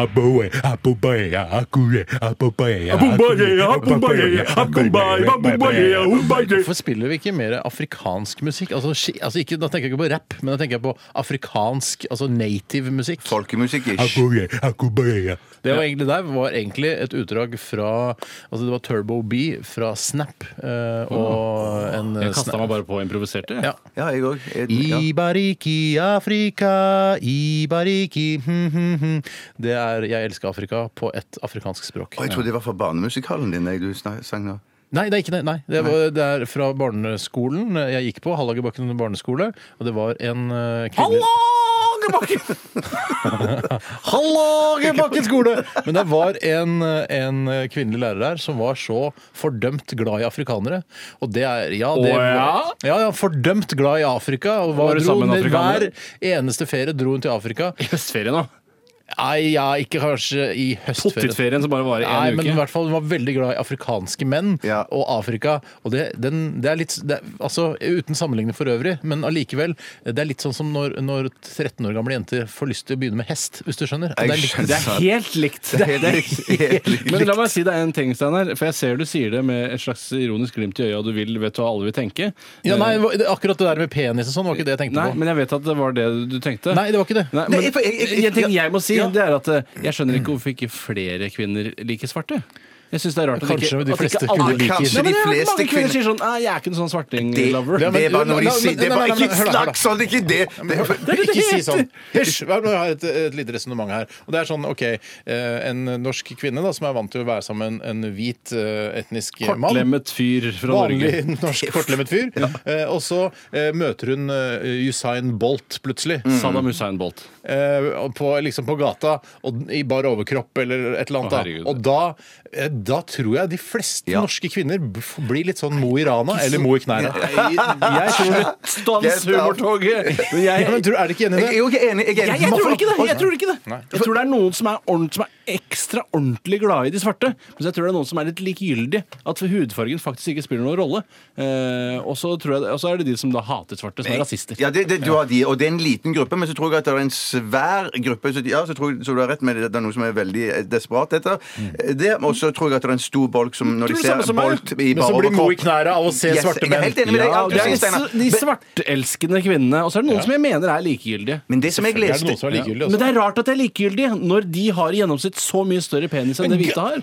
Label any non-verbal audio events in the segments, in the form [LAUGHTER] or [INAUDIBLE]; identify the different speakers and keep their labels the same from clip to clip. Speaker 1: aboe, aboe, akure, aboe,
Speaker 2: Aboe, aboe, aboe, aboe, aboe.
Speaker 3: Hvorfor spiller vi ikke mer afrikansk musikk? Altså, ski- altså ikke, Da tenker jeg ikke på rap, men da tenker jeg på afrikansk, altså native musikk.
Speaker 4: Folkemusikk-ish.
Speaker 1: Aboe, akubea.
Speaker 3: Det var egentlig der var egentlig et utdrag fra altså Det var Turbo B fra Snap. eh, og en eh,
Speaker 2: Jeg kasta
Speaker 3: Snap-
Speaker 2: meg bare på og improviserte.
Speaker 3: Ja.
Speaker 2: jeg.
Speaker 4: Ja, jeg òg.
Speaker 3: Ibariki, Afrika, Ibariki hm, hm, hm. Det er 'Jeg elsker Afrika' på et afrikansk språk.
Speaker 4: Og jeg trodde det var fra barnemusikalen din jeg, du snak- sang nå.
Speaker 3: Nei, det er ikke det. Nei. Det, var, det er fra barneskolen jeg gikk på. Hallagerbakken barneskole. Og det var en eh, kvinne... Hallagerbakken skole! Men det var en, en kvinnelig lærer der som var så fordømt glad i afrikanere. Og det er Ja,
Speaker 2: Å,
Speaker 3: det
Speaker 2: ja?
Speaker 3: var, ja, ja fordømt glad i Afrika. Og
Speaker 2: Var
Speaker 3: var
Speaker 2: det
Speaker 3: dro
Speaker 2: sammen med
Speaker 3: ned, hver
Speaker 2: afrikanere?
Speaker 3: eneste ferie dro hun til Afrika.
Speaker 2: I høstferien, da.
Speaker 3: Nei, ja, ikke kanskje i høstferien.
Speaker 2: Pottitferien som bare varer
Speaker 3: Nei,
Speaker 2: én
Speaker 3: men i
Speaker 2: uke.
Speaker 3: hvert fall Hun var veldig glad i afrikanske menn
Speaker 4: Ja.
Speaker 3: og Afrika. Og det, den, det er litt det, er- Altså, Uten sammenligning for øvrig, men allikevel. Det er litt sånn som når, når 13 år gamle jenter får lyst til å begynne med hest, hvis du skjønner. Det
Speaker 4: Jeg
Speaker 3: er litt,
Speaker 4: skjønner.
Speaker 2: Det er helt likt.
Speaker 4: Det er helt likt. Helt likt.
Speaker 2: Men la meg si deg en ting, Steinar. For jeg ser du sier det med et slags ironisk glimt i øya. Du vil, vet hva alle vil tenke.
Speaker 3: ja, nei, det- Akkurat det der med penis og sånn var ikke det jeg tenkte
Speaker 2: Nei,
Speaker 3: på.
Speaker 2: men jeg vet at det var det du tenkte.
Speaker 3: Nei, det var ikke det.
Speaker 2: Nei,
Speaker 4: Nei,
Speaker 2: men
Speaker 4: for jeg- jeg-
Speaker 2: en ting jeg må si,
Speaker 3: Ja.
Speaker 2: det er at eh, jeg skjønner ikke hvorfor ikke flere kvinner liker svarte. Jeg synes det er rart at
Speaker 3: Kanskje
Speaker 2: ikke,
Speaker 3: de
Speaker 2: at ikke
Speaker 3: fleste
Speaker 2: alle-
Speaker 3: kvinner liker-
Speaker 4: Kanskje
Speaker 2: Nei, men
Speaker 4: de
Speaker 2: det er
Speaker 4: fleste
Speaker 2: Mange kvinner
Speaker 4: kvinner-
Speaker 2: sier sånn «Nei, Jeg er ikke en sånn
Speaker 4: [LAUGHS] Det,
Speaker 2: svarting-lover.
Speaker 4: det er bare noe de
Speaker 3: Nei, men-
Speaker 4: sier. Det er
Speaker 3: nei,
Speaker 4: bare
Speaker 3: nei, nei, hør da,
Speaker 4: Ikke
Speaker 3: hør da.
Speaker 4: snakk sånn! Ikke det! det
Speaker 3: Hør,
Speaker 2: er det
Speaker 3: Ikke si
Speaker 2: det
Speaker 3: sånn.
Speaker 2: heter.
Speaker 3: Hysj! hva- nå har Jeg har et, et lite resonnement her. Og det er sånn, ok, eh, En norsk kvinne da, som er vant til å være sammen med en hvit eh, etnisk mann
Speaker 2: Kortlemmet fyr fra Norge.
Speaker 3: Vanlig
Speaker 2: [LAUGHS]
Speaker 3: norsk kortlemmet fyr. Eh, og så eh, møter hun eh, Usain Bolt plutselig.
Speaker 2: Mm. Saddam Hussein Bolt.
Speaker 3: Eh, og på, liksom på gata og, i bar overkropp eller et eller
Speaker 2: Å,
Speaker 3: annet.
Speaker 2: herregud.
Speaker 3: da. og da, eh, da tror jeg de fleste
Speaker 4: Ja.
Speaker 3: norske kvinner b- f- blir litt sånn Mo i Rana eller Mo i knærne.
Speaker 2: Jeg tror Stans humortoget! Men
Speaker 3: Ja, men
Speaker 2: jeg,
Speaker 3: tror, er det ikke enig i
Speaker 4: Jeg
Speaker 3: det?
Speaker 4: er jo ikke enig. Jeg, er
Speaker 2: jeg,
Speaker 4: enig.
Speaker 2: jeg tror ikke det!
Speaker 4: Og-
Speaker 2: Jeg tror ikke det Jeg tror det er noen som er, ordent- som er ekstra ordentlig glade i de svarte. Men så tror jeg det er noen som er litt likegyldige. At hudfargen faktisk ikke spiller noen rolle. Eh, og så tror jeg det- og så er det de som da hater svarte, som er rasister.
Speaker 4: Ja, det, det, du har de, og det er en liten gruppe, men så tror jeg at det er en svær gruppe. Så, ja, så, tror, jeg- så du har rett med det, det er noe som er veldig eh, desperat etter.
Speaker 3: Mm.
Speaker 4: Det, og så tror jeg at det er en stor bolk som når de
Speaker 2: Tror det
Speaker 4: ser
Speaker 2: samme som meg.
Speaker 4: bolt i
Speaker 3: Men
Speaker 4: bare
Speaker 3: som blir Mo i
Speaker 4: overkropp
Speaker 3: knærne av å se
Speaker 4: Yes,
Speaker 3: svarte
Speaker 4: jeg er
Speaker 3: menn.
Speaker 4: helt enig med deg.
Speaker 2: Ja,
Speaker 4: alt du
Speaker 2: det er
Speaker 4: sier,
Speaker 2: de,
Speaker 4: Steinar.
Speaker 2: de svartelskende kvinnene. Og så er det noen som jeg mener er likegyldige.
Speaker 4: Men det som jeg
Speaker 3: Er altså. det
Speaker 4: leste
Speaker 3: noen som er likegyldig
Speaker 2: Men
Speaker 3: også?
Speaker 2: det er rart at de er likegyldige når de har i gjennomsnitt så mye større penis enn det hvite har.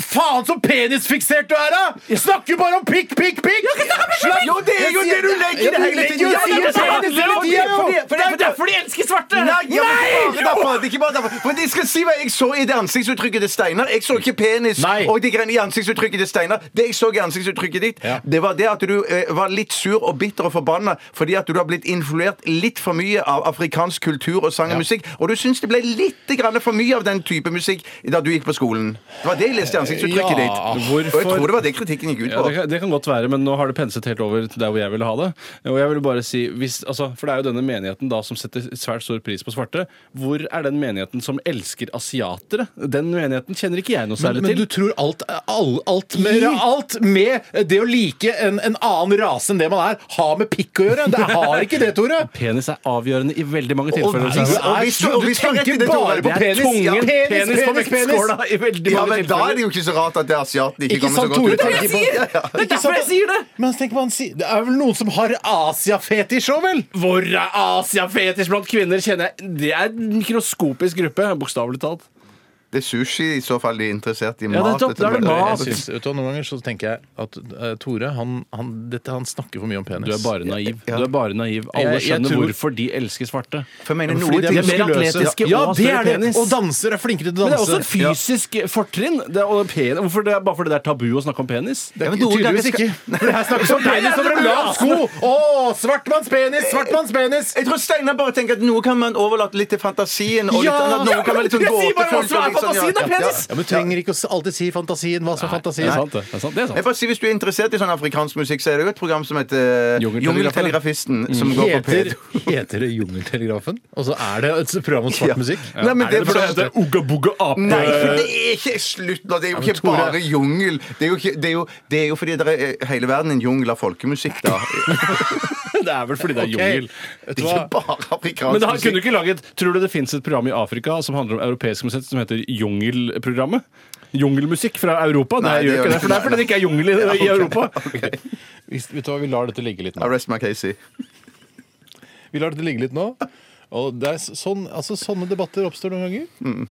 Speaker 3: Faen så penisfiksert du er, da! Snakker bare om pikk, pikk, pikk! Slapp!
Speaker 4: Jo, det er jo det du legger i det hele tiden! Ja, det er derfor-
Speaker 3: penis hele tiden, jo!
Speaker 4: fordi- fordi- fordi-
Speaker 2: de elsker svarte!
Speaker 4: Nei! ja, men Ikke bare derfor! det er Ikke bare derfor. Men jeg skal si hva jeg så i det ansiktsuttrykket til Steinar. Jeg så ikke penis
Speaker 3: Nei.
Speaker 4: og de greiene i ansiktsuttrykket til Steinar. Det jeg så i ansiktsuttrykket ditt,
Speaker 3: Ja.
Speaker 4: det var det at du eh, var litt sur og bitter og forbanna fordi at du har blitt influert litt for mye av afrikansk kultur og sang og musikk. Og du syns det ble litt grann for mye av den type musikk da du gikk på skolen. Det var det jeg leste i ansiktsuttrykket
Speaker 3: Ja.
Speaker 4: ditt. Og jeg
Speaker 2: Hvorfor
Speaker 4: tror det var det kritikken gikk ut
Speaker 2: Ja,
Speaker 4: på.
Speaker 2: det, kan, det kan godt være, men nå har det penset helt over til der hvor jeg ville ha det. Og jeg vil bare si, hvis, altså, For det er jo denne menigheten da som setter svært stor pris på svarte. Hvor er den menigheten som elsker asiatere? Den menigheten kjenner ikke jeg noe
Speaker 3: Men,
Speaker 2: særlig
Speaker 3: men du
Speaker 2: til.
Speaker 3: tror alt, all, alt, med, alt med det å like en, en annen rase enn det man er, har med pikk å gjøre? Det har ikke det, Tore.
Speaker 2: Penis er avgjørende i veldig mange tilfeller.
Speaker 3: nei,
Speaker 2: Steinar.
Speaker 4: [LAUGHS] og hvis du- og
Speaker 3: du
Speaker 4: hvis du har rett i
Speaker 3: tenker
Speaker 4: det, Tore,
Speaker 3: bare på
Speaker 4: det er
Speaker 3: penis.
Speaker 2: tungen,
Speaker 3: Ja,
Speaker 2: penis på vektskåla i veldig
Speaker 4: Ja,
Speaker 2: mange
Speaker 4: men Da er
Speaker 2: tilfeller.
Speaker 4: det jo ikke så rart at det asiatene ikke,
Speaker 3: Ikke
Speaker 4: kommer så
Speaker 3: sant,
Speaker 4: godt
Speaker 3: Tore?
Speaker 4: ut. av
Speaker 3: Tenker på-
Speaker 4: Ja, ja.
Speaker 2: Det er derfor jeg sier det!
Speaker 3: Men tenk på han si- Det er vel noen som har Asiafetisj òg, vel?
Speaker 2: Hvor er asiafetisj blant kvinner? kjenner jeg Det er en mikroskopisk gruppe, bokstavelig talt.
Speaker 4: Det er sushi i så fall de er interessert i.
Speaker 2: det er
Speaker 4: mat,
Speaker 2: topp,
Speaker 4: dette
Speaker 2: da er det
Speaker 4: må-
Speaker 2: mat.
Speaker 3: Jeg syns- vet du hva, Noen ganger så tenker jeg at eh, Tore han, han, dette, han snakker for mye om penis.
Speaker 2: Du er bare naiv.
Speaker 4: Ja.
Speaker 2: Du er bare naiv. Alle
Speaker 3: Jeg- jeg
Speaker 2: skjønner
Speaker 3: tror-
Speaker 2: hvorfor de elsker svarte.
Speaker 4: For jeg mener,
Speaker 2: Fordi
Speaker 4: noe
Speaker 2: de
Speaker 4: til-
Speaker 2: er mer
Speaker 3: muskuløse.
Speaker 2: atletiske
Speaker 3: ja,
Speaker 2: og har
Speaker 3: det
Speaker 2: større
Speaker 3: er det.
Speaker 2: penis.
Speaker 3: Og danser er flinkere til å
Speaker 2: Men det er
Speaker 3: danse.
Speaker 2: også et fysisk eh, fortrinn. Det er, og pen, hvorfor det er bare fordi det er tabu å snakke om penis?
Speaker 3: Det
Speaker 4: Ja,
Speaker 3: er
Speaker 4: men noen
Speaker 3: tydeligvis
Speaker 4: ganger
Speaker 3: ikke. For det her snakkes om penis over en lav sko! Å, svartmanns penis! Svartmanns penis!
Speaker 4: Jeg tror Steinar bare tenker at noe kan man overlate litt til fantasien. Og litt,
Speaker 3: Ja,
Speaker 4: at noe kan være litt
Speaker 2: [LAUGHS]
Speaker 4: sånn
Speaker 2: jeg sier bare
Speaker 4: gåtefull,
Speaker 2: hva som er
Speaker 4: og litt sånn,
Speaker 2: fantasien, det er
Speaker 4: ja, ja,
Speaker 2: penis!
Speaker 4: ja.
Speaker 3: Ja, men trenger ikke å alltid si fantasien. Hva som er fantasien?
Speaker 2: Det er sant, det. det, er sant, det er
Speaker 4: Jeg
Speaker 2: sant.
Speaker 4: bare sier, Hvis du er interessert i sånn afrikansk musikk, så er det jo et program som heter
Speaker 2: Jungeltelegrafene.
Speaker 4: Jungeltelegrafisten. Som går på
Speaker 3: Heter,
Speaker 4: P2.
Speaker 3: [LAUGHS] heter det Jungeltelegrafen? Og så er det et program om svart
Speaker 4: Ja.
Speaker 3: musikk?
Speaker 4: Nei, men det er fordi at det er
Speaker 3: Uga Buga Ape
Speaker 4: Nei, for det er ikke slutt nå! Det er jo ikke
Speaker 3: Tore-
Speaker 4: bare eh,
Speaker 2: [LAUGHS]
Speaker 4: jungel. Det er jo, ikke, det er jo, det er jo fordi det er hele verden en jungel av folkemusikk, da.
Speaker 2: Det er vel fordi det er
Speaker 3: Ok.
Speaker 2: jungel.
Speaker 3: Vet du
Speaker 4: Det er
Speaker 3: hva?
Speaker 4: ikke bare
Speaker 2: Men
Speaker 4: afrikansk
Speaker 2: da kunne du
Speaker 4: musikk.
Speaker 2: ikke laget Tror du det fins et program i Afrika som handler om europeisk musikk, som heter Jungelprogrammet? Jungelmusikk fra Europa? Nei,
Speaker 4: Nei,
Speaker 2: jeg
Speaker 4: det
Speaker 2: gjør
Speaker 4: gjør
Speaker 2: ikke det. For det er fordi det ikke er jungel i, i Europa.
Speaker 3: Hvis- Vet du hva, vi lar dette ligge litt nå.
Speaker 4: Arrest my Casey.
Speaker 3: Vi lar dette ligge litt nå. Og det er s- sånn, altså, sånne debatter oppstår noen ganger.